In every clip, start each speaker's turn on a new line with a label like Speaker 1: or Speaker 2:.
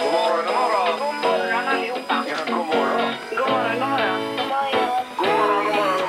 Speaker 1: God morgon, god morgon.
Speaker 2: God morgon allihopa.
Speaker 1: Ja, god morgon.
Speaker 2: God morgon, god morgon.
Speaker 1: God morgon, god morgon,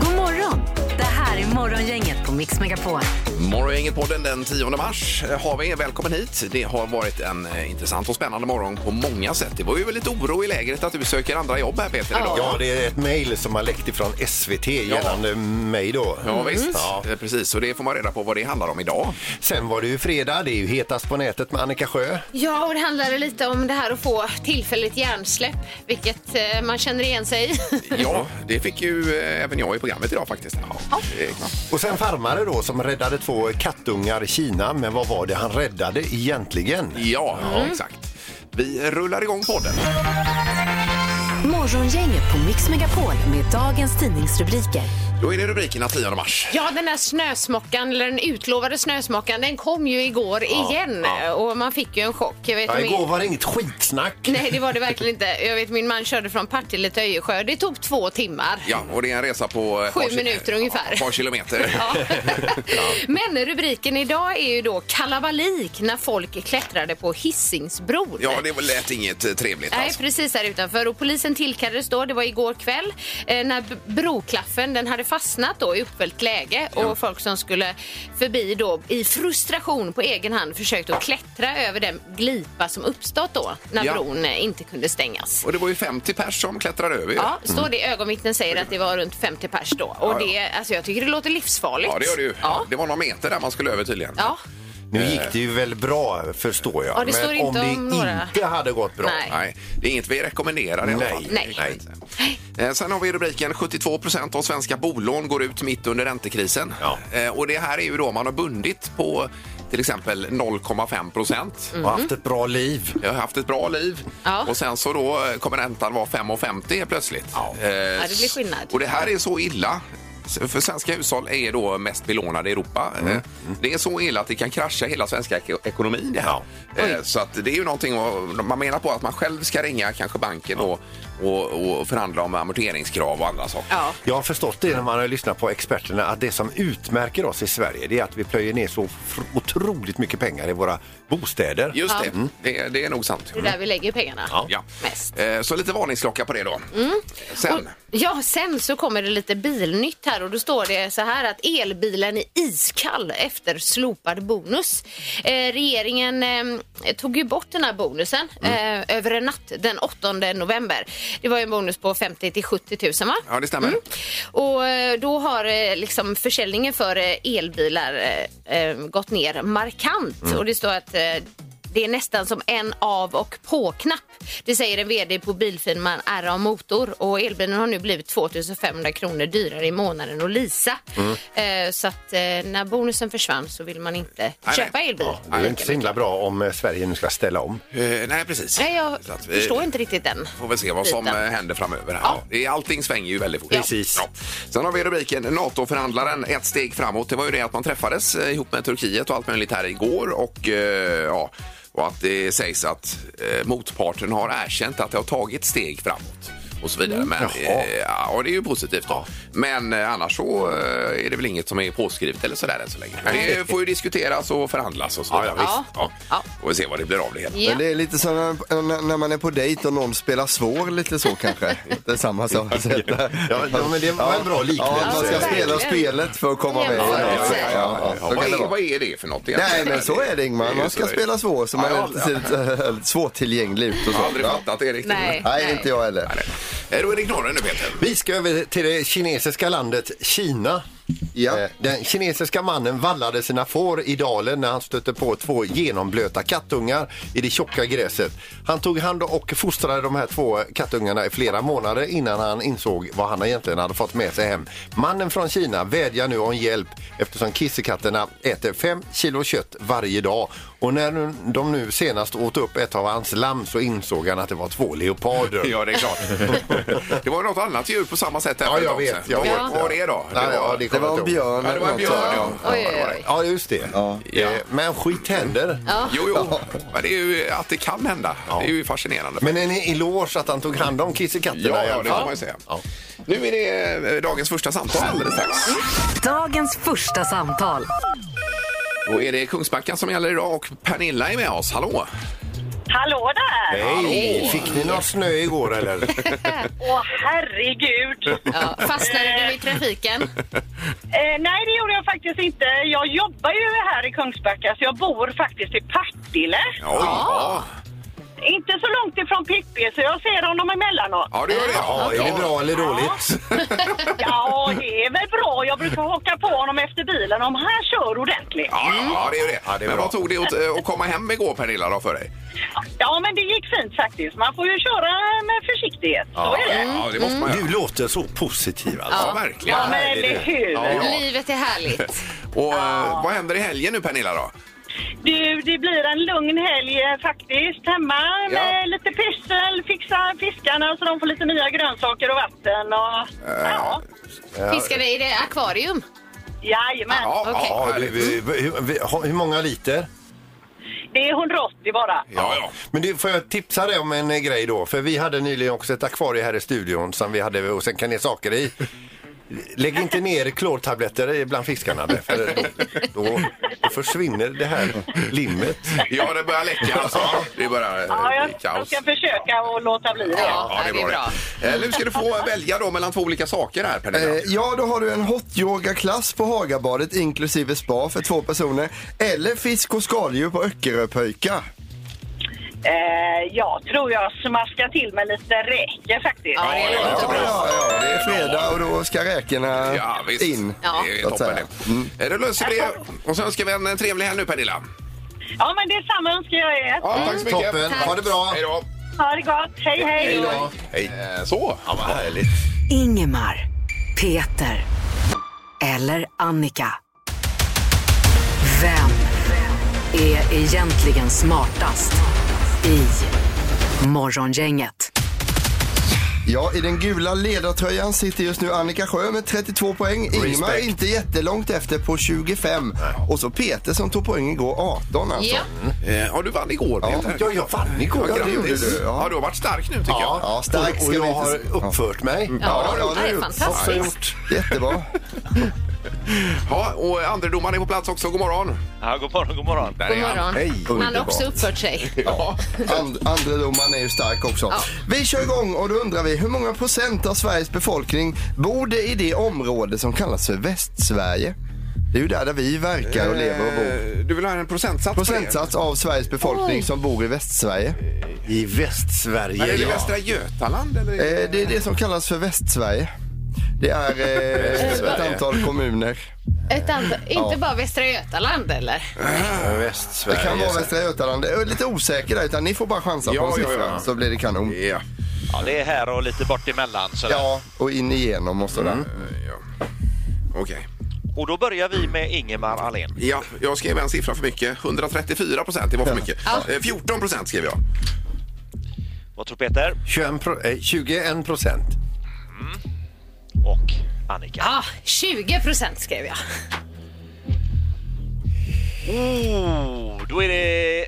Speaker 1: god morgon.
Speaker 3: God morgon! Det här är Morgongänget på Mix Megapol.
Speaker 4: Morgongänget-podden den 10 mars Eh, har vi. Välkommen hit. Det har varit en eh, intressant och spännande morgon på många sätt. Det var ju lite oro i lägret att du söker andra jobb här Peter idag.
Speaker 5: Ja, det är ett mejl som har läckt ifrån SVT gällande mig då.
Speaker 6: Mm.
Speaker 4: Ja, visst.
Speaker 5: Ja.
Speaker 4: Eh, Precis, och det får man reda på vad det handlar om idag.
Speaker 5: Sen var det ju fredag, det är ju Hetast på nätet med Annika Sjö.
Speaker 6: Ja, och det handlade lite om det här att få tillfälligt hjärnsläpp, vilket eh, man känner igen sig i.
Speaker 4: Ja, det fick ju eh, även jag i programmet idag faktiskt. Ja. Eh,
Speaker 5: Och sen farmare då som räddade två kattungar i Kina. Men vad var det han räddade egentligen?
Speaker 4: Ja, ja
Speaker 6: Mm.
Speaker 4: exakt. Vi rullar igång podden.
Speaker 3: Morgongänget på Mix Megapol med dagens tidningsrubriker.
Speaker 4: Då är det rubrikerna 10 mars.
Speaker 6: Ja, den här snösmockan, eller den utlovade snösmockan, den kom ju igår igen och man fick ju en chock. Jag vet
Speaker 5: Ja,
Speaker 6: min-
Speaker 5: igår var det inget skitsnack.
Speaker 6: Nej, det var det verkligen inte. Jag vet min man körde från Partille till Öjersjö. Det tog två timmar.
Speaker 4: Ja, och det är en resa på... eh,
Speaker 6: Sju
Speaker 4: par ki-
Speaker 6: minuter ungefär.
Speaker 4: Ja, Ett par kilometer.
Speaker 6: Ja. Men rubriken idag är ju då kalabalik när folk klättrade på Hisingsbron.
Speaker 4: Ja, det lät inget eh, trevligt
Speaker 6: Nej,
Speaker 4: alltså.
Speaker 6: precis här utanför. Och polisen tillkallades då, det var igår kväll, eh, när b- broklaffen den hade fastnat då i uppfällt läge och folk som skulle förbi då i frustration på egen hand försökte att klättra över den glipa som uppstått då när
Speaker 4: Ja.
Speaker 6: bron eh, inte kunde stängas.
Speaker 4: Och det var ju 50 pers som klättrade över ju.
Speaker 6: Ja, står det ögonvittnen säger att det var runt 50 pers då. Och det, alltså jag tycker det låter livsfarligt.
Speaker 4: Ja, det gör det ju.
Speaker 6: Ja.
Speaker 4: Det var några meter där man skulle över tydligen.
Speaker 6: Ja.
Speaker 5: Nu gick det ju väl bra förstår jag.
Speaker 6: Ja, det står
Speaker 5: men
Speaker 6: inte
Speaker 5: om det
Speaker 6: om några-
Speaker 5: inte hade gått bra.
Speaker 6: Nej.
Speaker 4: Nej, det är inget vi rekommenderar i alla
Speaker 5: Nej.
Speaker 4: fall.
Speaker 6: Nej.
Speaker 4: Det kan vi inte. Eh, Sen har vi rubriken 72 procent av svenska bolån går ut mitt under räntekrisen.
Speaker 5: Ja.
Speaker 4: Eh, Och det här är ju då om man har bundit på till exempel 0,5 procent.
Speaker 5: Och
Speaker 6: Mm.
Speaker 5: haft ett bra liv.
Speaker 4: Jag har haft ett bra liv
Speaker 6: Ja.
Speaker 4: och sen så då eh, kommer räntan vara 5,50 helt plötsligt. Ja.
Speaker 5: Eh,
Speaker 6: Ja, det blir skillnad.
Speaker 4: Eh, Och det här är så illa. För svenska hushåll är då mest belånade i Europa. Eh, Det är så illa att det kan krascha hela svenska ek- ekonomin det här. Eh, Så att det är ju någonting att- man menar på att man själv ska ringa kanske banken och, och, och förhandla om amorteringskrav och andra saker.
Speaker 6: Ja.
Speaker 5: Jag har förstått det när man har lyssnat på experterna att det som utmärker oss i Sverige det är att vi plöjer ner så fr- otroligt mycket pengar i våra bostäder.
Speaker 4: Just det. det, det är nog sant. Mm.
Speaker 6: Det är där vi lägger pengarna.
Speaker 4: Ja.
Speaker 6: Mest. Mm.
Speaker 4: Eh, Så lite varningsklocka på det då. Sen.
Speaker 6: Och, ja, sen så kommer det lite bilnytt här och då står det så här att elbilen är iskall efter slopad bonus. Eh, regeringen eh, tog ju bort den här bonusen eh, över en natt den 8 november. Det var ju en bonus på 50 till 70 000 va?
Speaker 4: Ja, det
Speaker 6: Mm.
Speaker 4: stämmer.
Speaker 6: Och eh, då har eh, liksom försäljningen för eh, elbilar eh, eh, gått ner markant. Och det står att eh, det är nästan som en av och på-knapp. Det säger en vd på bilfirman RA Motor och elbilen har nu blivit 2500 kronor dyrare i månaden att leasa. Eh, Så att eh, när bonusen försvann så vill man inte
Speaker 4: nej.
Speaker 6: köpa elbil.
Speaker 5: Det är ju inte så himla bra om eh, Sverige nu ska ställa om.
Speaker 4: Eh, Nej, precis.
Speaker 6: Nej,
Speaker 4: Så
Speaker 6: jag
Speaker 4: att vi-
Speaker 6: förstår inte riktigt den.
Speaker 4: får väl se vad som eh,
Speaker 6: Liten.
Speaker 4: händer framöver. Här.
Speaker 6: Ja.
Speaker 4: Det- Allting svänger ju väldigt fort.
Speaker 6: Ja.
Speaker 5: Precis.
Speaker 4: Sen har vi rubriken NATO-förhandlaren ett steg framåt. Det var ju det att man träffades eh, ihop med Turkiet och allt möjligt här igår och eh, ja, och att det sägs att eh, motparten har erkänt att det har tagit steg framåt och så vidare.
Speaker 6: Mm.
Speaker 4: Men,
Speaker 5: Jaha.
Speaker 4: eh, ja, och det är ju positivt då. Men eh, annars så eh, är det väl inget som är påskrivet eller sådär än så länge. Men det får ju diskuteras och förhandlas och så vidare.
Speaker 6: Ja.
Speaker 4: Ja.
Speaker 6: Ja.
Speaker 4: Och vi ser vad det blir av det hela.
Speaker 6: Ja.
Speaker 7: Men det är lite som när- när när man är på dejt och någon spelar svår lite så kanske. Det är samma sak. Så att-
Speaker 5: Ja, ja, men det var en bra liknelse.
Speaker 7: Ja, man ska spela spelet för att komma med.
Speaker 6: Ja, ja, ja,
Speaker 7: ja, så
Speaker 4: vad,
Speaker 7: kan det
Speaker 4: är,
Speaker 7: vara.
Speaker 4: vad är det för något egentligen?
Speaker 7: Nej men så är det Ingmar,
Speaker 4: ju
Speaker 7: man ska
Speaker 4: så.
Speaker 7: spela svår så man
Speaker 4: Ja,
Speaker 7: är
Speaker 4: ja,
Speaker 7: lite, lite svårtillgänglig ut och
Speaker 4: Jag har
Speaker 7: så.
Speaker 4: aldrig
Speaker 7: Ja.
Speaker 4: fattat det riktigt.
Speaker 6: Nej.
Speaker 7: Nej, inte jag heller.
Speaker 4: Nej, nej. Eh, Då är det knorren nu Peter.
Speaker 5: Vi ska över till det kinesiska landet Kina.
Speaker 7: Ja.
Speaker 5: Eh, Den kinesiska mannen vallade sina får i dalen när han stötte på två genomblöta kattungar i det tjocka gräset. Han tog hand och fostrade de här två kattungarna i flera månader innan han insåg vad han egentligen hade fått med sig hem. Mannen från Kina vädjar nu om hjälp eftersom kissekatterna äter 5 kilo kött varje dag. Och när nu- de nu senast åt upp ett av hans lamm så insåg han att det var två leoparder.
Speaker 4: Ja, det är klart. det var något annat djur på samma sätt. här
Speaker 5: Ja, jag
Speaker 4: också.
Speaker 5: vet, jag
Speaker 4: Vad
Speaker 5: vet.
Speaker 4: vad var det då?
Speaker 5: Nej, ja, det
Speaker 7: Det
Speaker 5: kommer
Speaker 7: var en
Speaker 5: jag inte ihåg.
Speaker 7: björn
Speaker 4: Ja, det var en
Speaker 7: något,
Speaker 4: björn, ja.
Speaker 7: va?
Speaker 4: Ja,
Speaker 6: Oj,
Speaker 4: det var det.
Speaker 5: Ja, just det.
Speaker 7: Ja.
Speaker 5: Eh, Men skit händer.
Speaker 4: Jo, jo. Men det är ju att det kan hända. Det är ju fascinerande.
Speaker 5: Men en eloge att han tog hand om kissekatterna
Speaker 4: ja,
Speaker 5: i
Speaker 4: ja,
Speaker 5: alla
Speaker 4: det
Speaker 5: fall.
Speaker 4: får man ju säga.
Speaker 5: Ja.
Speaker 4: Nu är det eh, dagens första samtal alldeles strax.
Speaker 3: Dagens första samtal.
Speaker 4: Då är det Kungsbacka som gäller idag och Pernilla är med oss. Hallå!
Speaker 8: Hallå där!
Speaker 5: Hej! Fick ni någon snö igår eller?
Speaker 8: Åh herregud!
Speaker 6: Ja, fastnade du i trafiken?
Speaker 8: Eh, nej, det gjorde jag faktiskt inte. Jag jobbar ju här i Kungsbacka, så jag bor faktiskt i Partille.
Speaker 4: Ja, ja.
Speaker 8: Inte så långt ifrån Pippi, så jag ser honom emellanåt.
Speaker 4: ja det gör det.
Speaker 5: Ja, är det bra eller dåligt?
Speaker 8: Ja, det är väl bra. Jag brukar haka på honom efter bilen om han kör ordentligt.
Speaker 4: Ja, ja, det är det.
Speaker 5: Ja, det är
Speaker 4: Men
Speaker 5: bra.
Speaker 4: vad tog det åt, eh, att komma hem igår Pernilla då för dig?
Speaker 8: Ja, men det gick fint faktiskt. Man får ju köra med försiktighet. Så är det.
Speaker 4: ja det måste man göra.
Speaker 5: Du låter så positiv alltså.
Speaker 4: Ja, verkligen.
Speaker 8: Ja, men eller hur?
Speaker 4: Ja, ja.
Speaker 6: Livet är härligt.
Speaker 4: Och eh, vad händer i helgen nu Pernilla då?
Speaker 8: Du, det blir en lugn helg eh, faktiskt hemma med lite pyssel, fixa fiskarna så de får lite nya grönsaker och vatten och ja,
Speaker 6: Fiskade i det akvarium.
Speaker 8: jajamän.
Speaker 4: Ja,
Speaker 6: Okej.
Speaker 4: ja,
Speaker 5: Ja, du,
Speaker 4: härligt.
Speaker 5: vi- vi- hur, vi- ha- hur många liter?
Speaker 8: Det är 180 bara.
Speaker 4: ja, ja.
Speaker 5: Men du, får jag tipsa dig om en eh, grej då? För vi hade nyligen också ett akvarie här i studion som vi hade och sen kan ni saker i. Lägg inte ner klortabletter i- bland fiskarna där, för då, då, då försvinner det här limmet.
Speaker 4: Ja, det börjar läcka alltså. Det börjar eh,
Speaker 8: Ja,
Speaker 4: bli
Speaker 8: jag, jag
Speaker 4: kaos.
Speaker 8: ska försöka att låta bli det.
Speaker 6: Ja, det är bra.
Speaker 4: det. Eh, Nu ska du få välja då mellan två olika saker här Pernilla.
Speaker 7: Eh, ja, då har du en hot yoga-klass på Hagabadet inklusive spa för två personer. Eller fisk och skaldjur på Öckeröpöjka.
Speaker 8: Eh, jag tror jag smaskar till med lite räkor faktiskt.
Speaker 6: Ja, det
Speaker 4: ja,
Speaker 6: är
Speaker 7: Ja,
Speaker 6: lite bra.
Speaker 7: ja, ja, det är fredag och då ska räkorna
Speaker 4: Ja, visst.
Speaker 7: in.
Speaker 6: Ja.
Speaker 4: Det är
Speaker 7: Så att
Speaker 4: toppen
Speaker 7: säga.
Speaker 4: det. Eh, Då löser vi det. Och så önskar vi en eh, trevlig helg nu Pernilla.
Speaker 8: Ja, men det är samma önskar jag er.
Speaker 4: Ja, tack så mycket.
Speaker 5: Mm, Toppen, ha det bra!
Speaker 4: Hej då.
Speaker 8: Ha det gott. Hej, hej.
Speaker 4: Eh, Så. Ja, vad härligt.
Speaker 3: Ingemar, Peter eller Annika. Vem är egentligen smartast i Morgongänget?
Speaker 7: Ja, i den gula ledartröjan sitter just nu Annika Sjö med 32 poäng. Ingemar är
Speaker 5: Respect.
Speaker 7: inte jättelångt efter på 25. Och så Peter som tog poäng igår, 18 alltså.
Speaker 6: Ja.
Speaker 4: Eh, Ja, du vann igår Peter.
Speaker 5: Ja, jag vann igår.
Speaker 4: Ja,
Speaker 7: Ja, det gjorde
Speaker 4: grattis.
Speaker 7: du, ja.
Speaker 4: Ja, du har varit stark nu tycker jag.
Speaker 7: Ja, stark
Speaker 5: och,
Speaker 7: ska
Speaker 5: och
Speaker 7: vi
Speaker 5: jag
Speaker 7: inte
Speaker 5: har
Speaker 7: se- Mm.
Speaker 5: uppfört mig.
Speaker 6: Ja,
Speaker 7: ja, det
Speaker 6: det
Speaker 7: har
Speaker 6: är
Speaker 7: du
Speaker 5: Också
Speaker 6: fantastiskt.
Speaker 5: gjort.
Speaker 7: Jättebra.
Speaker 4: Ja, och andredomaren är på plats också. God morgon!
Speaker 9: Ja, god morgon, god morgon.
Speaker 4: Där
Speaker 6: God
Speaker 4: är han.
Speaker 6: morgon.
Speaker 7: Hej,
Speaker 6: Han har
Speaker 7: underbart.
Speaker 6: också uppfört sig.
Speaker 4: Ja.
Speaker 7: And, andre domaren är ju stark också.
Speaker 6: Ja.
Speaker 7: Vi kör igång och då undrar vi hur många procent av Sveriges befolkning bor det i det område som kallas för Västsverige? Det är ju där, där vi verkar och lever och bor.
Speaker 4: Eh, Du vill ha en procentsats på det?
Speaker 7: Procentsats av Sveriges befolkning
Speaker 6: Oj.
Speaker 7: som bor i Västsverige.
Speaker 5: I
Speaker 4: Är
Speaker 5: Västsverige,
Speaker 4: det
Speaker 5: ja.
Speaker 4: Västra Götaland eller?
Speaker 7: Eh, det är det som kallas för Västsverige. Det är eh, ett antal kommuner.
Speaker 6: Ett antal, inte bara Västra Götaland eller?
Speaker 7: Det
Speaker 5: Västsverige.
Speaker 7: kan vara Västra Götaland. Jag är lite osäker där, utan ni får bara chansa
Speaker 4: Ja,
Speaker 7: på en
Speaker 4: ja,
Speaker 7: siffra
Speaker 4: ja.
Speaker 7: så blir det kanon.
Speaker 4: Ja.
Speaker 9: Ja, det är här och lite bort emellan. Så där.
Speaker 7: Ja, och in igenom och
Speaker 4: Mm.
Speaker 7: sådär.
Speaker 4: ja. Okej.
Speaker 9: Och då börjar vi med Ingemar Ahlén.
Speaker 4: Ja, jag skrev en siffra för mycket. 134 procent, det var för mycket. Eh, 14 procent skrev jag.
Speaker 9: Vad tror Peter?
Speaker 5: 21, pro- eh, 21 procent.
Speaker 9: Och Annika.
Speaker 6: Ja, 20 procent skrev jag.
Speaker 9: Oh, då är det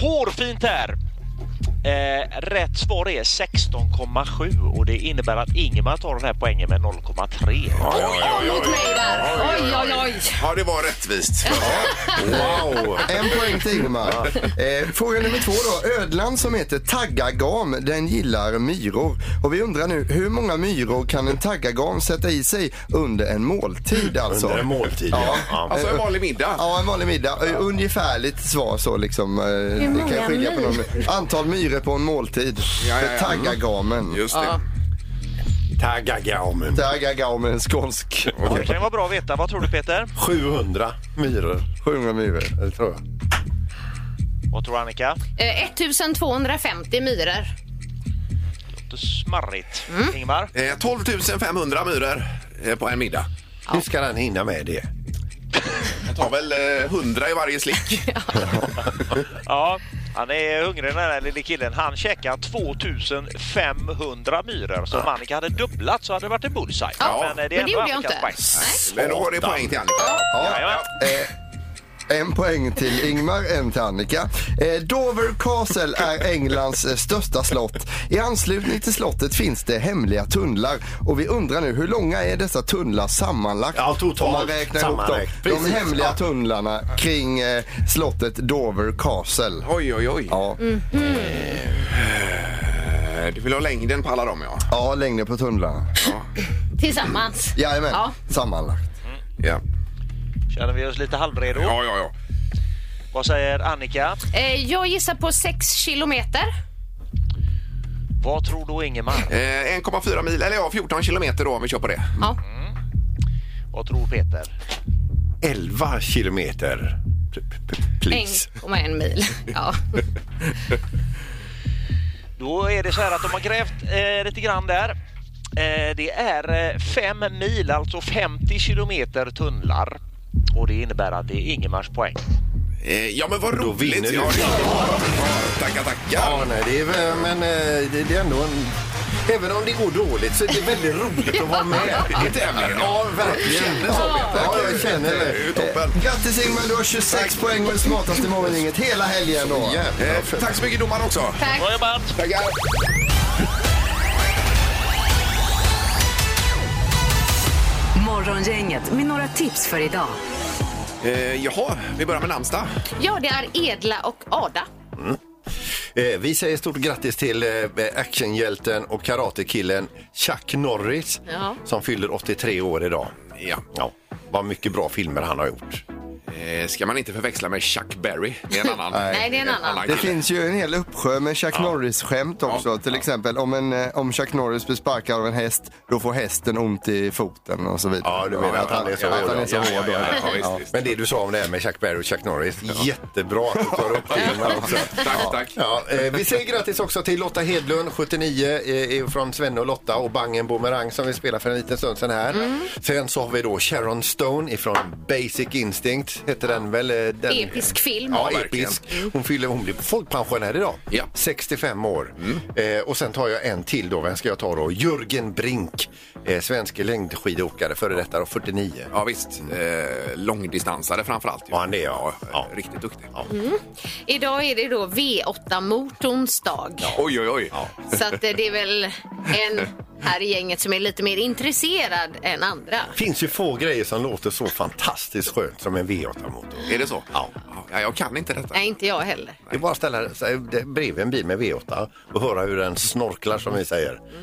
Speaker 9: hårfint här. Eh, rätt svar är 16,7 och det innebär att Ingemar tar den här poängen med 0,3.
Speaker 6: Oj, mot mig där. Oj, oj, oj.
Speaker 4: Ja, det var rättvist.
Speaker 5: Wow!
Speaker 7: En poäng till Ingemar. Eh, fråga nummer två då. Ödlan som heter taggagam, den gillar myror. Och vi undrar nu, hur många myror kan en taggagam sätta i sig under en måltid alltså?
Speaker 5: Under en måltid, ja. ja.
Speaker 4: Alltså en vanlig middag.
Speaker 7: Eh. Ja, en vanlig middag. Ja. Ungefärligt svar så liksom. eh, Det kan skilja på någon. Antal myror på en måltid.
Speaker 4: ja,
Speaker 7: För
Speaker 4: ja. Mm.
Speaker 7: taggagamen.
Speaker 4: Just det.
Speaker 6: Ja.
Speaker 5: Taggagaumen.
Speaker 7: Taggagamen, skånsk.
Speaker 9: Det kan ju vara bra att veta. Vad tror du Peter?
Speaker 5: 700 myror,
Speaker 7: 700 myror.
Speaker 5: eh, tror jag.
Speaker 9: Vad tror Annika?
Speaker 6: Eh, 1250 myror.
Speaker 9: Låter smarrigt. Ingemar?
Speaker 4: Eh, 12 500 myror eh, på en middag.
Speaker 5: Hur ska den hinna med det?
Speaker 4: Jag tar väl eh, 100 i varje slick.
Speaker 9: Ja, han är hungrig den här lille killen. Han käkar 2500 myror. Så om Annika hade dubblat så hade det varit en bullseye.
Speaker 6: Ja,
Speaker 9: eh,
Speaker 6: men det
Speaker 9: ändå
Speaker 6: gjorde jag
Speaker 9: Annikas
Speaker 6: inte.
Speaker 9: poäng.
Speaker 4: Men då har det poäng till Annika.
Speaker 9: Jajamän.
Speaker 7: Eh, En poäng till Ingmar, en till Annika. Eh, Dover Castle är Englands eh, största slott. I anslutning till slottet finns det hemliga tunnlar. Och vi undrar nu, hur långa är dessa tunnlar sammanlagt?
Speaker 5: Ja, totalt.
Speaker 7: Om man räknar ihop dem.
Speaker 5: Sammanlagt.
Speaker 7: De
Speaker 5: Precis.
Speaker 7: hemliga
Speaker 5: Ja.
Speaker 7: tunnlarna kring eh, slottet Dover Castle.
Speaker 4: Oj, oj, oj.
Speaker 7: Ja,
Speaker 4: Eh, Du vill ha längden på alla dem, ja.
Speaker 7: ja längre på tunnlarna.
Speaker 6: Tillsammans.
Speaker 7: Jajamän,
Speaker 6: Ja.
Speaker 7: sammanlagt.
Speaker 4: Ja,
Speaker 9: Känner vi oss lite halvredo?
Speaker 4: ja, ja. ja.
Speaker 9: Vad säger Annika?
Speaker 6: Eh, Jag gissar på 6 kilometer.
Speaker 9: Vad tror då Ingemar?
Speaker 4: Eh, 1,4 mil, eller ja, 14 kilometer då om vi kör på det.
Speaker 6: Ja.
Speaker 7: Mm.
Speaker 9: Vad tror Peter?
Speaker 5: 11 kilometer. P- p- Please.
Speaker 6: 1,1 mil. Ja.
Speaker 9: Då är det så här att de har grävt eh, lite grann där. Eh, det är eh, fem mil, alltså 50 kilometer tunnlar. Och det innebär att det är Ingemars poäng.
Speaker 4: Eh, ja, men vad
Speaker 5: Då vinner
Speaker 4: roligt.
Speaker 5: du.
Speaker 4: Ja, det- Tackar,
Speaker 5: Ja,
Speaker 4: tackar.
Speaker 5: nej, det är väl, men eh, det det är ändå en... Även om det går dåligt så är det väldigt roligt att vara med.
Speaker 4: Det är tävling.
Speaker 5: Ja, verkligen. Ja, jag känner
Speaker 4: Det är ju
Speaker 5: det.
Speaker 4: toppen.
Speaker 7: Grattis Ingmar, du har 26 poäng och är smartast i morgongänget hela helgen. Då.
Speaker 4: Eh, tack så mycket domaren också.
Speaker 6: Tack.
Speaker 9: Bra jobbat!
Speaker 4: Tackar.
Speaker 3: Morgongänget med några tips för idag.
Speaker 4: Eh, jaha, vi börjar med namnsdag.
Speaker 6: Ja, det är Edla och Ada.
Speaker 5: Eh, Vi säger stort grattis till eh, actionhjälten och karatekillen Chuck Norris
Speaker 6: Ja.
Speaker 5: som fyller 83 år idag.
Speaker 4: Ja.
Speaker 5: Ja, vad mycket bra filmer han har gjort.
Speaker 4: Eh, ska man inte förväxla med Chuck Berry. Det är en annan.
Speaker 6: Nej, det är en annan.
Speaker 7: Det
Speaker 4: kille.
Speaker 7: finns ju en hel uppsjö med Chuck Norris-skämt också.
Speaker 4: Ja.
Speaker 7: Till exempel om, en, eh, om Chuck Norris blir sparkad av en häst, då får hästen ont i foten och så vidare.
Speaker 5: Ja, du menar att han är så
Speaker 7: att
Speaker 5: hård,
Speaker 7: han är så
Speaker 5: ja.
Speaker 7: hård.
Speaker 4: Ja, ja, ja, ja,
Speaker 7: Ja.
Speaker 4: visst, visst.
Speaker 5: Men det du sa om det här med Chuck Berry och Chuck Norris, jättebra att du tar upp filmen också.
Speaker 4: Tack, tack.
Speaker 5: Ja, eh, vi säger grattis också till Lotta Hedlund, 79, eh, är från Svenne och Lotta och Bangen Boomerang som vi spelade för en liten stund sedan här.
Speaker 4: Mm.
Speaker 5: Sen så har vi då Sharon Stone ifrån Basic Instinct, heter den väl? eh, Den...
Speaker 6: Episk film.
Speaker 5: Ja,
Speaker 4: Ja, verkligen. Mm.
Speaker 5: episk. Hon, fyller, hon blir folkpensionär idag.
Speaker 4: Ja. Mm.
Speaker 5: 65 år. Eh, och sen tar jag en till då. Vem ska jag ta då? Jörgen Brink, eh, svensk längdskidåkare, före detta då, 49.
Speaker 4: Ja, visst. Eh, långdistansare framför allt. ju.
Speaker 5: Ja, han är ja. ja. Mm.
Speaker 4: Riktigt duktig.
Speaker 6: Idag är det då V8-motorns dag.
Speaker 4: Oj, oj, oj.
Speaker 6: Så att eh, det är väl en här i gänget som är lite mer intresserad än andra.
Speaker 5: finns ju få grejer som låter så fantastiskt skönt som en V8-motor.
Speaker 4: Är det så?
Speaker 5: Ja.
Speaker 4: ja. Jag kan inte detta.
Speaker 6: Nej, inte jag heller.
Speaker 5: Det är bara att ställa sig bredvid en bil med V8 och höra hur den snorklar som vi säger.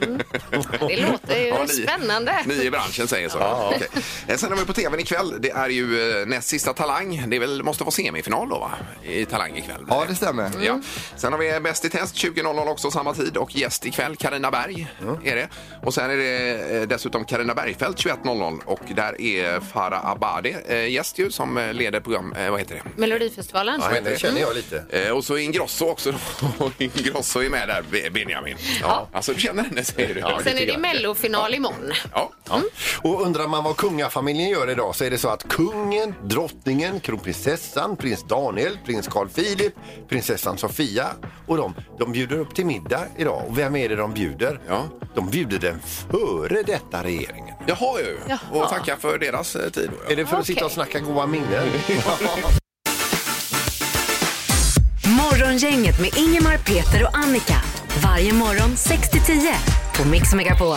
Speaker 6: Det låter ju
Speaker 4: Ja, ni-
Speaker 6: spännande.
Speaker 4: Ni i branschen säger så.
Speaker 5: Ja.
Speaker 4: Okej. Eh, Sen har vi på tvn ikväll. Det är ju eh, näst sista Talang. Det är väl, måste vara semifinal då, va? I Talang ikväll. Mm.
Speaker 7: Ja, det stämmer.
Speaker 4: Ja. Sen har vi eh, Bäst i test 20.00 också samma tid och gäst ikväll Karina Berg är det. Och sen är det eh, dessutom Karina Bergfeldt 21.00 och där är Farah Abadi eh, gäst ju som eh, leder program, eh, vad heter det?
Speaker 6: Melodifestivalen.
Speaker 5: Ja, henne känner jag lite.
Speaker 4: Eh, Och så Ingrosso också. Och Ingrosso är med där, Be- Benjamin. Ja. Alltså du känner henne säger du?
Speaker 6: Sen är det Mm. mellofinal imorgon.
Speaker 4: Ja.
Speaker 5: Och undrar man vad kungafamiljen gör idag så är det så att kungen, drottningen, kronprinsessan, prins Daniel, prins Carl Philip, prinsessan Sofia och de, de bjuder upp till middag idag. Och vem är det de bjuder?
Speaker 4: Ja.
Speaker 5: De bjuder den före detta regeringen.
Speaker 4: Jaha ju.
Speaker 6: Jaha.
Speaker 4: Och tacka för deras eh, tid. då,
Speaker 5: Är
Speaker 4: Ja.
Speaker 5: det för att
Speaker 6: Okej.
Speaker 5: sitta och snacka goda minnen?
Speaker 3: Morgongänget med Ingemar, Peter och Annika. Varje morgon 6 till 10 på Mix Megapol.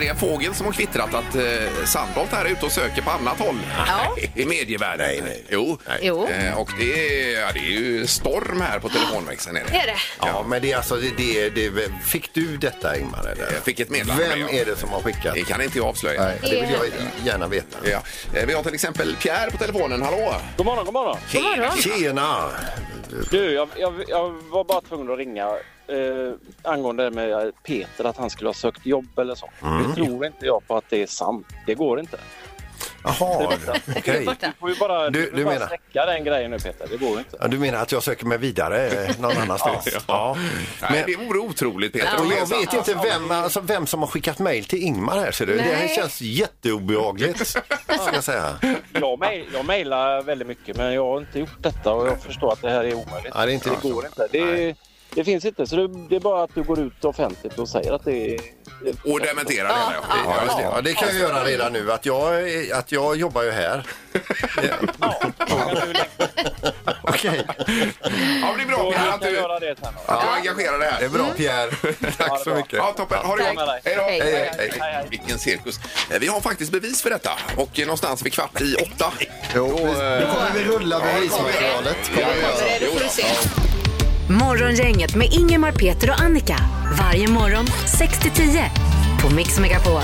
Speaker 4: Det är en fågel som har kvittrat att eh, Sandholt här är ute och söker på annat håll
Speaker 6: Ja.
Speaker 4: i medievärlden.
Speaker 5: Nej, nej.
Speaker 4: Jo.
Speaker 6: Jo.
Speaker 4: Eh, och det är, ja, det är ju storm här på telefonväxeln. Är det.
Speaker 6: Det är det.
Speaker 5: Ja, men det är alltså, det, det, det, fick du detta Ingmar? Eller?
Speaker 4: Jag fick ett meddelande.
Speaker 5: Vem är det som har skickat?
Speaker 4: Det kan inte jag avslöja.
Speaker 5: Nej, det vill jag gärna veta.
Speaker 4: Ja. Eh, Vi har till exempel Pierre på telefonen. Hallå!
Speaker 10: God morgon, god morgon.
Speaker 4: Tjena!
Speaker 5: Tjena!
Speaker 10: Du, jag, jag, jag var bara tvungen att ringa eh, angående det med Peter, att han skulle ha sökt jobb eller så.
Speaker 5: Mm.
Speaker 10: Nu tror inte jag på att det är sant. Det går inte.
Speaker 5: Jaha, okej.
Speaker 10: Du får ju bara,
Speaker 5: Du-
Speaker 10: du, får
Speaker 5: du
Speaker 10: bara
Speaker 5: menar-
Speaker 10: släcka den grejen nu Peter. Det går inte.
Speaker 5: Ja, du menar att jag söker mig vidare eh, någon annanstans? ja.
Speaker 4: Nej,
Speaker 5: Men,
Speaker 4: det vore otroligt Peter.
Speaker 5: och
Speaker 4: om det är
Speaker 5: jag
Speaker 4: sant.
Speaker 5: vet inte vem, alltså, vem som har skickat mejl till Ingmar här ser du. Det här
Speaker 6: Nej.
Speaker 5: känns jätteobehagligt. ska jag säga.
Speaker 10: Jag, mej, jag mejlar väldigt mycket men jag har inte gjort detta och jag förstår att det här är omöjligt.
Speaker 5: Ja, det är inte-
Speaker 10: går inte. Det, det finns inte. Så det, det är bara att du går ut offentligt och säger att det är
Speaker 4: Och dementera det. menar jag. Ja, just det.
Speaker 5: Ja, det kan jag göra redan nu. Att jag, är- att jag jobbar ju här. Okej,
Speaker 4: Ja, men det är bra
Speaker 10: Då
Speaker 4: Pierre
Speaker 10: kan
Speaker 4: att
Speaker 10: jag
Speaker 4: du,
Speaker 10: göra det sen. då.
Speaker 4: att du engagerar dig
Speaker 5: det
Speaker 4: här.
Speaker 5: är bra Pierre. Tack så mycket.
Speaker 4: Ja, toppen. Ha det
Speaker 6: Tack.
Speaker 4: gott. Hej då.
Speaker 6: Hej, hej,
Speaker 4: hej. Vilken cirkus. Eh, Vi har faktiskt bevis för detta och eh, någonstans vid kvart i åtta.
Speaker 7: Jo, eh, vi, nu kommer vi rulla bevismaterialet.
Speaker 4: Ja, ja, ja.
Speaker 6: Då får du se.
Speaker 3: Morgongänget med Ingemar, Peter och Annika. Varje morgon 6 till 10 på Mix Megapol.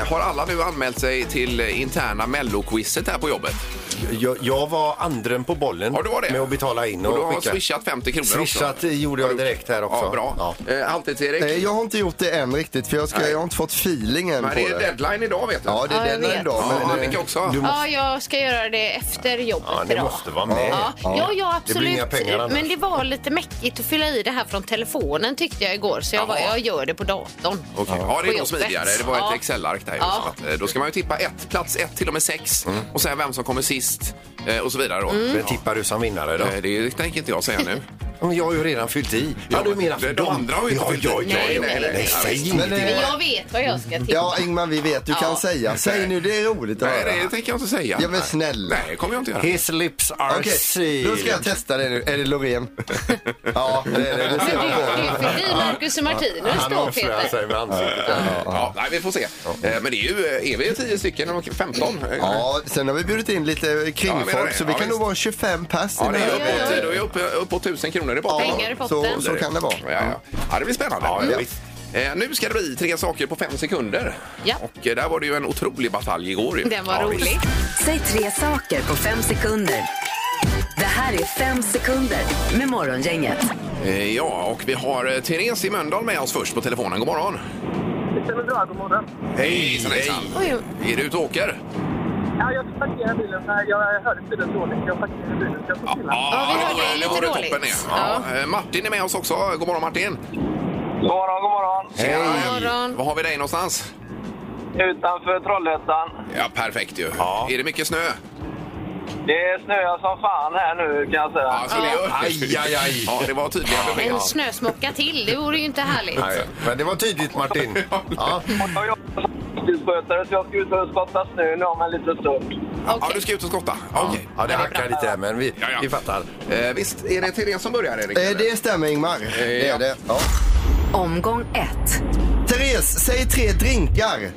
Speaker 4: Eh, Har alla nu anmält sig till eh, interna melloquizet här på jobbet?
Speaker 5: Jag, jag var andren på bollen
Speaker 4: Ja, du var det.
Speaker 5: med att betala in
Speaker 4: Och
Speaker 5: och,
Speaker 4: du har
Speaker 5: skicka.
Speaker 4: swishat 50 kronor
Speaker 5: Swishat
Speaker 4: också?
Speaker 5: gjorde
Speaker 4: Har
Speaker 5: jag
Speaker 4: du-
Speaker 5: direkt här också.
Speaker 4: Ja, bra.
Speaker 5: Ja.
Speaker 4: Eh, Halvtids-Erik?
Speaker 7: Eh, Jag har inte gjort det än riktigt för jag, ska, jag har inte fått feeling än
Speaker 4: Men
Speaker 7: på
Speaker 4: det är
Speaker 7: det.
Speaker 4: deadline idag vet du.
Speaker 7: Ja, det
Speaker 6: Ja, jag
Speaker 7: är den
Speaker 6: vet.
Speaker 7: idag.
Speaker 4: Ja,
Speaker 7: Men, eh,
Speaker 4: Annika också.
Speaker 5: du-
Speaker 6: Ja, jag ska göra det efter jobbet
Speaker 5: Ja, ni
Speaker 6: idag.
Speaker 5: måste vara med.
Speaker 6: Ja, ja, ja absolut.
Speaker 5: Det blir inga pengar annars.
Speaker 6: Men det var lite mäckigt att fylla i det här från telefonen tyckte jag igår. Så jag, bara,
Speaker 4: Jaha.
Speaker 6: jag gör det på datorn.
Speaker 4: Okej, ja det
Speaker 6: På
Speaker 4: är nog smidigare.
Speaker 6: jobbet.
Speaker 4: Det var ett
Speaker 6: Ja.
Speaker 4: Excel-ark där. ju.
Speaker 6: Ja.
Speaker 4: Så att, eh, Då ska man ju tippa ett, plats ett till och med sex och sen vem som kommer sist eh, och så vidare. Då.
Speaker 5: Vem tippar du som vinnare Mm. då?
Speaker 4: Eh, Det tänker inte jag säga nu.
Speaker 5: Men jag har ju redan fyllt i. Ja, du menar
Speaker 4: de andra har ju inte
Speaker 5: ja,
Speaker 4: fyllt i.
Speaker 5: ja, ja,
Speaker 4: Nej,
Speaker 5: ja,
Speaker 4: nej, nej.
Speaker 5: nej, säg
Speaker 7: Men,
Speaker 5: ingenting.
Speaker 6: Men
Speaker 7: eh,
Speaker 6: jag vet vad jag ska tippa.
Speaker 7: ja, Ingmar, vi vet. Du kan
Speaker 6: Ja.
Speaker 7: säga. Säg nu, det är roligt att
Speaker 4: Nej, det
Speaker 7: höra.
Speaker 4: tänker jag inte säga.
Speaker 7: Ja, men snälla.
Speaker 4: Nej, det kommer jag inte göra.
Speaker 5: His lips are
Speaker 7: Okej, då ska jag
Speaker 5: sealed.
Speaker 7: testa det nu. Är det Loreen? ja, det är det. Det ser
Speaker 6: Men
Speaker 7: man
Speaker 6: du,
Speaker 7: på.
Speaker 6: du förbi Marcus och Martinus
Speaker 5: Han
Speaker 6: då,
Speaker 5: avslöjar
Speaker 6: Peter.
Speaker 5: sig med ansiktet.
Speaker 4: Ja, nej, vi får se. Eh, Men det är ju, eh, är vi 10 stycken och 15?
Speaker 7: Ja, sen har vi bjudit in lite
Speaker 4: Ja, jag menar
Speaker 7: kringfolk
Speaker 4: det.
Speaker 7: så vi
Speaker 4: Ja,
Speaker 7: kan nog
Speaker 4: visst.
Speaker 7: vara 25 pers i
Speaker 4: Ja, det är
Speaker 7: den här
Speaker 4: uppåt, då är jag uppe, upp på 1000 kronor i botten.
Speaker 6: Pengar i
Speaker 7: båten.
Speaker 6: potten.
Speaker 7: så, så kan det vara.
Speaker 4: Ja, ja. ja, det blir spännande.
Speaker 5: Ja, ja,
Speaker 4: Mm.
Speaker 5: visst.
Speaker 4: Eh, Nu ska det bli tre saker på fem sekunder.
Speaker 6: Ja.
Speaker 4: Och eh, där var det ju en otrolig batalj igår. ju.
Speaker 6: Den var
Speaker 4: Ja,
Speaker 6: rolig.
Speaker 4: visst.
Speaker 3: Säg tre saker på fem sekunder. Det här är fem sekunder med Morgongänget.
Speaker 4: Eh, Ja, och vi har eh, Therese i Mölndal med oss först på telefonen. God morgon!
Speaker 8: Det stämmer bra, god morgon.
Speaker 4: Hej, hejsan!
Speaker 6: Oj,
Speaker 4: Är du ute och åker?
Speaker 8: Ja, jag parkerar bilen, för jag hörde tydligen dåligt. Jag parkerar bilen, så jag får stilla.
Speaker 6: vi
Speaker 4: det
Speaker 6: hörde
Speaker 4: var-
Speaker 6: lite
Speaker 4: det var det
Speaker 6: dåligt.
Speaker 4: toppen är. Ja. eh, Martin är med oss också. God morgon Martin!
Speaker 8: God morgon, god morgon.
Speaker 4: Hej!
Speaker 6: morgon.
Speaker 4: Var har vi dig någonstans?
Speaker 8: Utanför Trollhättan.
Speaker 4: Ja, perfekt ju.
Speaker 5: Ja.
Speaker 4: Är det mycket snö?
Speaker 8: Det snöar som fan här nu, kan jag säga.
Speaker 4: Alltså, det gör-
Speaker 5: Aj, aj, aj.
Speaker 4: Ja, det var tydliga besked.
Speaker 6: en snösmocka till, det vore ju inte härligt.
Speaker 5: Nej, Men det var tydligt Martin. Ja.
Speaker 8: Jag jobbar som fastighetsskötare, så jag ska ut och skotta snö nu om en liten stund.
Speaker 4: Ja, du ska ut och skotta? Ja. Okej.
Speaker 5: Ja, det hackar lite här men vi,
Speaker 4: Ja, ja.
Speaker 5: vi fattar.
Speaker 4: Eh, visst, är det Therese som börjar Erik?
Speaker 7: Eh, Det stämmer Ingmar. Det är det. Ja.
Speaker 3: Omgång 1.
Speaker 7: Therese, säg tre drinkar.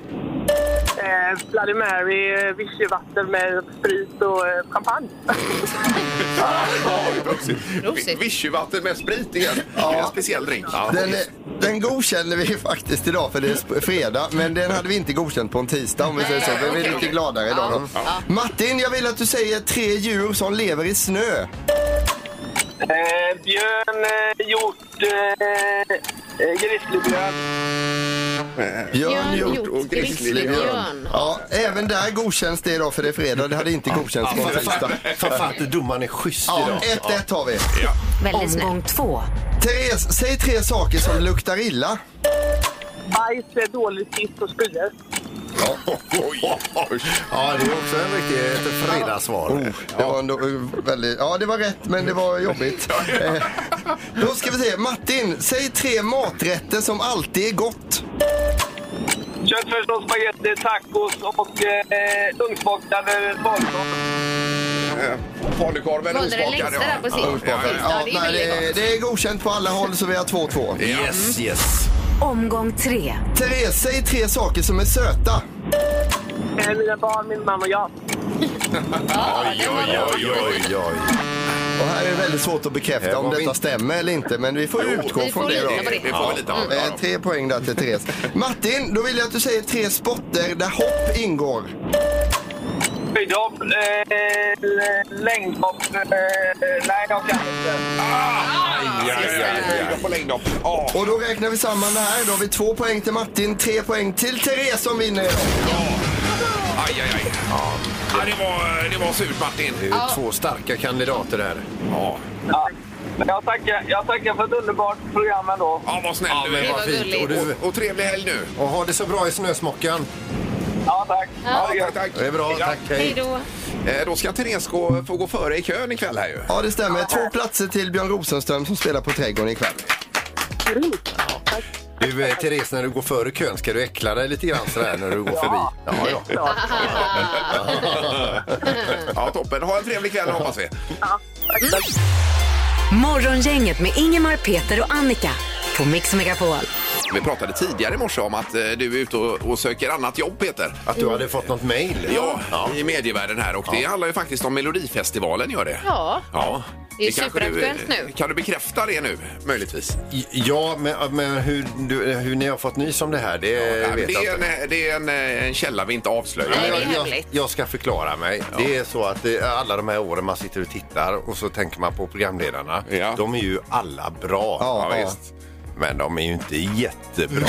Speaker 8: Eh, Bloody Mary, eh, vichyvatten med sprit och eh, champagne.
Speaker 4: Vi-
Speaker 6: Prosit.
Speaker 4: Vichyvatten med sprit igen. Det är en speciell drink. Ja.
Speaker 7: Den, den godkänner vi faktiskt idag för det är sp- fredag, men den hade vi inte godkänt på en tisdag om vi säger så. Men vi är lite gladare idag då. Martin, jag vill att du säger tre djur som lever i snö.
Speaker 8: Eh, björn, eh, hjort, eh, eh, grizzlybjörn.
Speaker 6: Björn, hjort
Speaker 7: hjort
Speaker 6: och grizzlybjörn.
Speaker 7: Ja, även där godkänns det idag för det är fredag. Det hade inte godkänts på en tisdag.
Speaker 5: För fan inte domaren är schysst
Speaker 7: Ja,
Speaker 5: idag.
Speaker 7: 1-1 har vi.
Speaker 6: Väldigt snällt.
Speaker 3: Omgång 2.
Speaker 7: Therese, säg tre saker som luktar illa.
Speaker 8: Bajs, eh, dålig sitt och spyor.
Speaker 4: Oj, oj.
Speaker 5: Ja, det är också en riktig ett fredagssvar.
Speaker 7: Oh, det var ändå eh, väldigt... Ja, det var rätt, men det var jobbigt. Eh, Då ska vi se. Martin, säg tre maträtter som alltid är gott.
Speaker 8: Köttfärs och spagetti, tacos och eh, ugnsbakade svalkar.
Speaker 4: Eh, Falukorven
Speaker 6: Valde den längsta där på sist.
Speaker 4: Ja, ja,
Speaker 6: Ja, det är
Speaker 7: nej,
Speaker 6: väldigt
Speaker 7: det, det är godkänt på alla håll, så vi har 2-2.
Speaker 5: Yes, yes.
Speaker 3: Omgång 3.
Speaker 7: Therese, säg tre saker som är söta.
Speaker 8: Eh, mina barn, min man och jag.
Speaker 5: Oj, oj, oj, oj, oj.
Speaker 7: Och här är det väldigt svårt att
Speaker 5: Eh,
Speaker 7: bekräfta om
Speaker 5: var vi
Speaker 7: detta
Speaker 5: inte-
Speaker 7: stämmer eller inte, men vi får
Speaker 4: Jo,
Speaker 7: utgå
Speaker 6: vi
Speaker 7: från
Speaker 6: får
Speaker 7: det
Speaker 6: lita på
Speaker 7: då.
Speaker 4: Det, det får vi lite
Speaker 5: Mm.
Speaker 4: av.
Speaker 7: Eh, tre poäng där till Therese. Martin, då vill jag att du säger tre sporter där hopp ingår.
Speaker 8: Skidhopp, eh, l- längdhopp. Eh, nej, jag kan inte.
Speaker 4: Ja, ja, ja, ja. På längdhopp. Ja.
Speaker 7: Och då räknar vi samman det här. Då har vi två poäng till Martin, tre poäng till Therese som vinner idag.
Speaker 4: Aj, aj, aj. Ja, det, var, det var surt, Martin.
Speaker 5: Det är ju två starka kandidater där.
Speaker 4: Ja,
Speaker 8: Ja. Men jag tackar, jag tackar för ett underbart program ändå.
Speaker 4: ja vad snäll
Speaker 5: Ja,
Speaker 4: du
Speaker 5: men
Speaker 4: är.
Speaker 5: vad fint.
Speaker 6: gulligt.
Speaker 5: Och, du,
Speaker 4: Och trevlig helg nu.
Speaker 5: och ha det så bra i snösmockan.
Speaker 8: Ja, tack. Ha det gött.
Speaker 4: tack, tack.
Speaker 5: Det är bra, tack.
Speaker 6: Hej
Speaker 5: Hej.
Speaker 6: då.
Speaker 4: Eh, Då ska Therese gå, få gå före i kön ikväll här ju.
Speaker 7: Ja, det stämmer. Två platser till Björn Rosenström som spelar på Trädgården ikväll.
Speaker 5: Du, eh, Therese, när du går före kön ska du äckla dig lite grann sådär när du går förbi. Ja, ja.
Speaker 4: Ja, toppen. Ha en trevlig kväll hoppas vi.
Speaker 3: Morgongänget med Ingemar, Peter och Annika på Mix Megapol.
Speaker 4: Vi pratade tidigare i morse om att eh, du är ute och, och söker annat jobb, Peter.
Speaker 5: Att du hade fått något mejl.
Speaker 4: Ja, i medievärlden här och det handlar ju faktiskt om Melodifestivalen gör det.
Speaker 6: Ja.
Speaker 4: ja.
Speaker 6: Det är
Speaker 4: kanske du,
Speaker 6: superaktuellt nu.
Speaker 4: Kan du bekräfta det nu, möjligtvis?
Speaker 5: Ja, men, men hur, du, hur ni har fått nys om det här, det
Speaker 4: Ja, men
Speaker 5: vet
Speaker 4: det,
Speaker 5: jag
Speaker 4: är
Speaker 5: inte.
Speaker 4: en, det är en, eh, en källa vi inte avslöjar.
Speaker 6: Nej, det är
Speaker 5: jag, jag,
Speaker 6: hemligt.
Speaker 5: jag ska förklara mig. Det är så att det, alla de här åren man sitter och tittar och så tänker man på programledarna.
Speaker 4: Ja.
Speaker 5: De är ju alla bra.
Speaker 7: Ja,
Speaker 4: Ja,
Speaker 7: ja.
Speaker 4: visst.
Speaker 5: Men de är ju inte jättebra.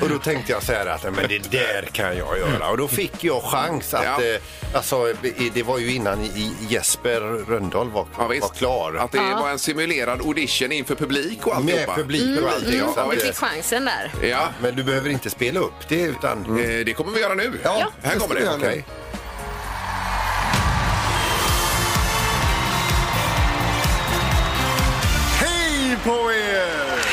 Speaker 5: och då tänkte jag så här att men det där kan jag göra. Och då fick jag chans att...
Speaker 4: Ja.
Speaker 5: Eh, alltså, i- det var ju innan i- Jesper Rönndahl var,
Speaker 4: Ja, visst.
Speaker 5: var klar.
Speaker 4: Att det var en simulerad audition inför publik och
Speaker 5: med
Speaker 4: alltihopa.
Speaker 5: publik och allting.
Speaker 4: Mm.
Speaker 5: Så att,
Speaker 6: Du
Speaker 5: eh,
Speaker 6: fick chansen där.
Speaker 4: Ja,
Speaker 5: Men du behöver inte spela upp det utan...
Speaker 4: eh, det kommer vi göra nu.
Speaker 7: Ja,
Speaker 4: Här
Speaker 7: det
Speaker 4: kommer
Speaker 7: ska vi
Speaker 4: det.
Speaker 7: göra nu.
Speaker 4: Okej.
Speaker 5: Hej på er!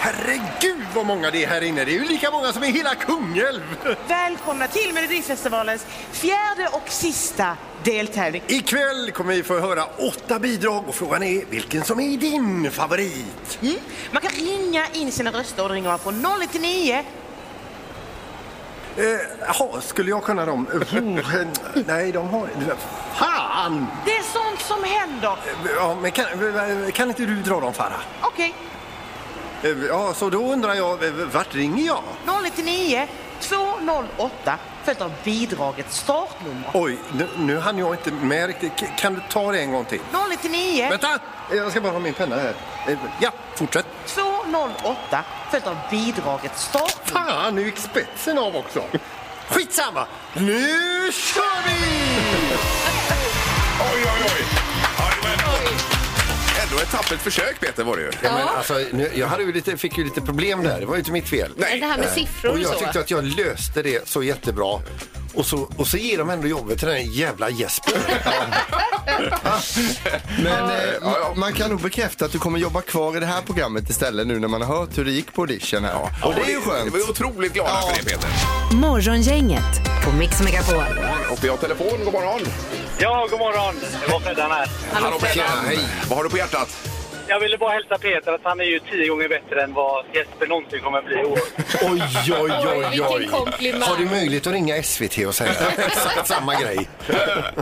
Speaker 5: Herregud vad många det är här inne. Det är ju lika många som i hela Kungälv.
Speaker 2: Välkomna till Melodifestivalens fjärde och sista deltävling.
Speaker 5: Ikväll kommer vi få höra åtta bidrag och frågan är vilken som är din favorit.
Speaker 2: Mm. Man kan ringa in sina röster och ringa på 099.
Speaker 5: Eh, Jaha, skulle jag kunna dem? Oh, eh, Nej, de har... Fan!
Speaker 2: Det är sånt som händer.
Speaker 5: Ja, men kan, kan inte du dra dem, Farah?
Speaker 2: Okej,
Speaker 5: Eh, Ja, så då undrar jag, eh, vart ringer jag?
Speaker 2: 099 208 följt av bidragets startnummer.
Speaker 5: Oj, nu, nu hann jag inte med riktigt. K- Kan du ta det en gång till?
Speaker 2: 099
Speaker 5: Vänta! Eh, Jag ska bara ha min penna här. Eh, Ja, fortsätt.
Speaker 2: 208 följt av bidragets startnummer.
Speaker 5: Fan, nu gick spetsen av också. Skitsamma! Nu kör vi!
Speaker 4: Oj, oj, oj! Ja, det var ändå- Ändå ett tappert försök, Peter, var det ju.
Speaker 5: Ja, men alltså, nu, jag hade ju lite, fick ju lite problem där. Det var ju inte mitt fel.
Speaker 4: Nej.
Speaker 6: Det här med siffror
Speaker 5: Eh, Och
Speaker 6: och
Speaker 5: jag
Speaker 6: så.
Speaker 5: tyckte att jag löste det så jättebra. Och så, och så ger de ändå jobbet till den här jävla Jesper.
Speaker 7: Men eh, ma- man kan nog bekräfta att du kommer jobba kvar i det här programmet istället nu när man har hört hur det gick på audition här. Och det är ju skönt.
Speaker 4: Vi är otroligt glada
Speaker 7: Ja.
Speaker 4: för det, Peter.
Speaker 3: Morgongänget på Mix Megapol.
Speaker 4: Och vi har telefon. God morgon!
Speaker 10: Ja, god morgon. Det var Freddan här.
Speaker 4: Hallå, Peter. Hej! Vad har du på hjärtat?
Speaker 10: Jag ville bara hälsa Peter att han är ju tio gånger bättre än vad Jesper någonsin kommer att bli i år.
Speaker 5: Oj, oj, oj,
Speaker 6: Oj, vilken komplimang.
Speaker 5: Har du möjlighet att ringa SVT och säga exakt samma grej?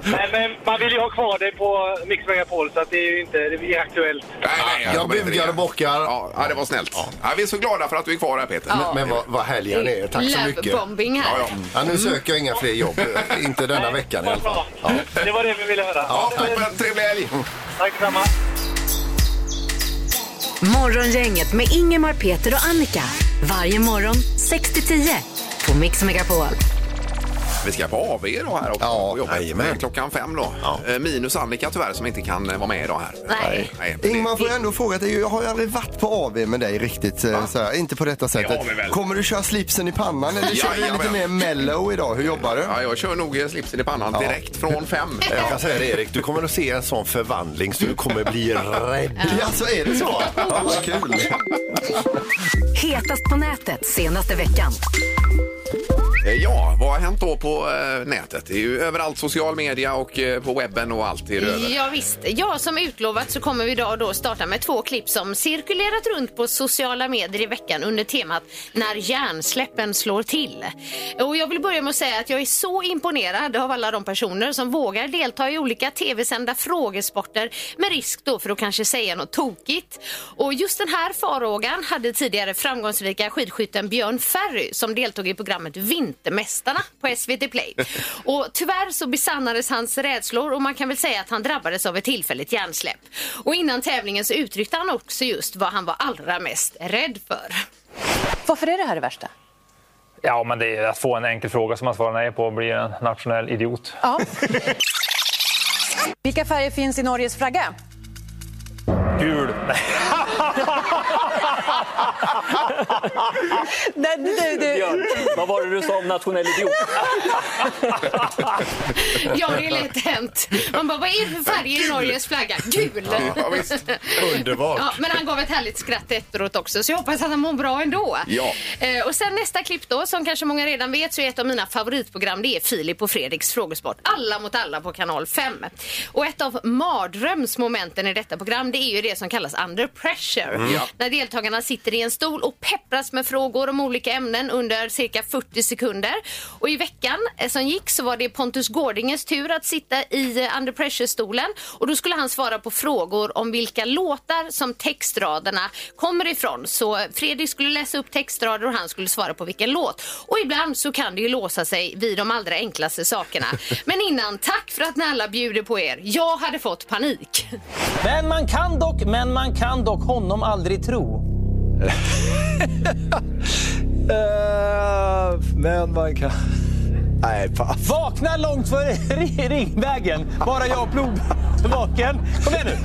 Speaker 10: Nej, men man vill ju ha kvar dig på Mix Megapol så att det är ju inte det är aktuellt.
Speaker 4: Nej, nej,
Speaker 5: Jag
Speaker 4: kommer inte
Speaker 5: bugar
Speaker 4: ringa.
Speaker 5: och bockar.
Speaker 4: Ja, ja, det var snällt. Ja. vi är så glada för att du är kvar här, Peter.
Speaker 5: Men- Men vad, vad härliga ni är. Tack så mycket.
Speaker 6: Lovebombing
Speaker 4: Ja,
Speaker 6: här.
Speaker 4: ja.
Speaker 5: Ja, nu söker jag inga fler jobb. Inte denna veckan i alla fall. Ja.
Speaker 10: Det var det vi ville höra.
Speaker 4: Ja, Mm. toppen. Trevlig helg!
Speaker 10: Tack detsamma.
Speaker 3: Morgongänget med Ingemar, Peter och Annika. Varje morgon 6 till 10 på Mix Megapol.
Speaker 4: Vi ska på AV idag här också.
Speaker 5: Ja,
Speaker 4: på jobbet.
Speaker 5: jajamän.
Speaker 4: Klockan fem då.
Speaker 5: Ja.
Speaker 4: Eh, Minus Annika tyvärr som inte kan eh, vara med idag här.
Speaker 6: Nej.
Speaker 4: det-
Speaker 7: Ingmar, får jag ändå fråga dig, jag har ju aldrig varit på AV med dig riktigt, eh, sådär, inte på detta sättet.
Speaker 4: har vi väl.
Speaker 7: Kommer du köra slipsen i pannan eller kör du
Speaker 4: Jajamän.
Speaker 7: lite mer mellow idag? Hur jobbar du?
Speaker 4: Ja, jag kör nog eh, slipsen i pannan direkt från fem.
Speaker 5: Jag kan säga det Erik, du kommer att se en sån förvandling så du kommer bli rädd.
Speaker 7: Ja, så är det så? Ja, vad kul.
Speaker 3: Hetast på nätet senaste veckan.
Speaker 4: Eh, Ja, vad har hänt då på eh, nätet? Det är ju överallt social media och eh, på webben och allt är det över.
Speaker 6: Ja, visst. Ja, som utlovat så kommer vi idag då starta med två klipp som cirkulerat runt på sociala medier i veckan under temat När hjärnsläppen slår till. Och jag vill börja med att säga att jag är så imponerad av alla de personer som vågar delta i olika tv-sända frågesporter med risk då för att kanske säga något tokigt. Och just den här farhågan hade tidigare framgångsrika skidskytten Björn Ferry som deltog i programmet Vintermästarna på SVT Play. Och tyvärr så besannades hans rädslor och man kan väl säga att han drabbades av ett tillfälligt hjärnsläpp. Och innan tävlingen så uttryckte han också just vad han var allra mest rädd för.
Speaker 2: Varför är det här det värsta?
Speaker 11: Ja, men det är att få en enkel fråga som man svarar nej på och bli en nationell idiot.
Speaker 2: Vilka färger finns i Norges flagga?
Speaker 11: Gul!
Speaker 12: Nej, du,
Speaker 13: Björn, vad var det du sa om nationell idiot?
Speaker 6: Ja, det är lätt hänt. Man bara, vad är det för färger i Norges flagga? Gul!
Speaker 4: Ja, visst. Underbart.
Speaker 6: Ja, men han gav ett härligt skratt efteråt också, så jag hoppas att han mår bra ändå.
Speaker 4: Ja.
Speaker 6: Eh, och sen nästa klipp då, som kanske många redan vet, så är ett av mina favoritprogram, det är Filip och Fredriks frågesport. Alla mot alla på kanal 5. Och ett av mardrömsmomenten i detta program, det är ju det som kallas under pressure.
Speaker 14: Mm. Ja.
Speaker 6: När deltagarna sitter i en stol och peppras med frågor om olika ämnen under cirka 40 sekunder. Och i veckan eh, som gick så var det Pontus Gårdinges tur att sitta i eh, under pressure-stolen. Och då skulle han svara på frågor om vilka låtar som textraderna kommer ifrån. Så Fredrik skulle läsa upp textrader och han skulle svara på vilken låt. Och ibland så kan det ju låsa sig vid de allra enklaste sakerna. Men innan, tack för att ni alla bjuder på er. Jag hade fått panik.
Speaker 13: Men man kan dock, men man kan dock honom aldrig tro. Eh, men man kan... Nej, fan. Vakna långt före ri- ringvägen. Bara jag och plog- vaken. Kom igen nu.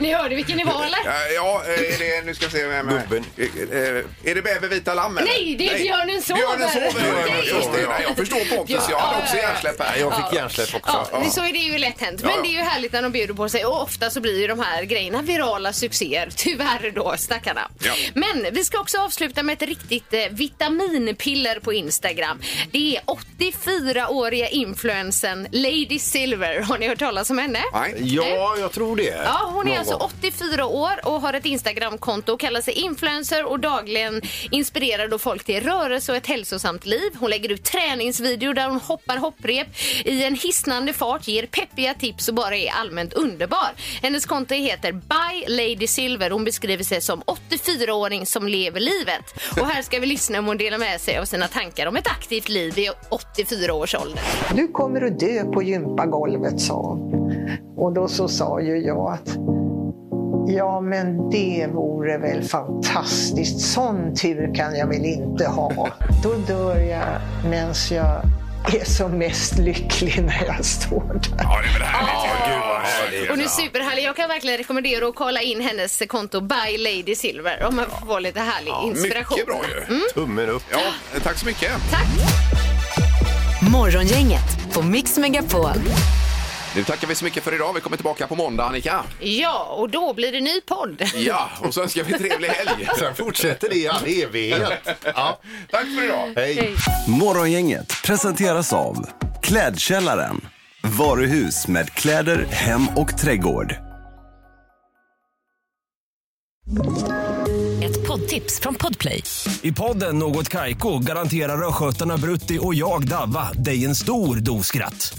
Speaker 6: Ni hörde vilken det var eller?
Speaker 4: Eh, Ja, eh, är det, nu ska vi se vem är. Eh, eh, Är det Bäver vita lamm? eller?
Speaker 6: Nej, det är Björnen sover.
Speaker 4: Björnen sover, ja,
Speaker 6: Nej.
Speaker 4: just det. Nej, Jag förstår Pontus, jag hade också hjärnsläpp här.
Speaker 5: Jag fick hjärnsläpp också.
Speaker 6: Ja, så är det ju lätt hänt.
Speaker 4: Ja,
Speaker 6: Men
Speaker 4: ja.
Speaker 6: det är ju härligt när de bjuder på sig och ofta så blir ju de här grejerna virala succéer. Tyvärr då, stackarna.
Speaker 14: Ja.
Speaker 6: Men vi ska också avsluta med ett riktigt eh, vitaminpiller på Instagram. Det är 84-åriga influensen Lady Silver. Har ni hört talas om henne?
Speaker 5: Ja, jag tror det.
Speaker 6: Ja, hon är
Speaker 5: Någon
Speaker 6: alltså
Speaker 5: gång.
Speaker 6: 84 år och har ett Instagramkonto och kallar sig influencer och dagligen inspirerar då folk till rörelse och ett hälsosamt liv. Hon lägger ut träningsvideor där hon hoppar hopprep i en hisnande fart, ger peppiga tips och bara är allmänt underbar. Hennes konto heter By Lady Silver. Hon beskriver sig som 84-åring som lever livet. Och här ska vi lyssna om hon delar med sig av sina tankar om ett aktivt liv i 84 års ålder.
Speaker 15: Du kommer att dö på gympagolvet, sa hon. Och då så sa ju jag att Ja, men det vore väl fantastiskt. Sån tur kan jag väl inte ha. Då dör jag medan jag är som mest lycklig när jag står där.
Speaker 4: Ja, det är väl härligt? Gud, vad härligt.
Speaker 6: Hon är superhärlig. Jag kan verkligen rekommendera att kolla in hennes konto By Lady Silver om man får lite härlig inspiration.
Speaker 4: Mycket bra ju.
Speaker 5: Tummen upp.
Speaker 4: Ja, eh, tack så mycket.
Speaker 3: Morgongänget på Mix Megapol.
Speaker 4: Nu tackar vi så mycket för idag. Vi kommer tillbaka på måndag, Annika.
Speaker 6: Ja, och då blir det ny podd.
Speaker 4: Ja, och så önskar vi trevlig helg.
Speaker 5: Sen fortsätter det i all evighet. Ja.
Speaker 4: Tack för idag.
Speaker 5: Hej.
Speaker 16: Morgongänget presenteras av Klädkällaren. Varuhus med kläder, hem och trädgård.
Speaker 3: Ett poddtips från Podplay.
Speaker 17: I podden Något Kaiko garanterar östgötarna Brutti och jag, Davva, dig en stor dos skratt.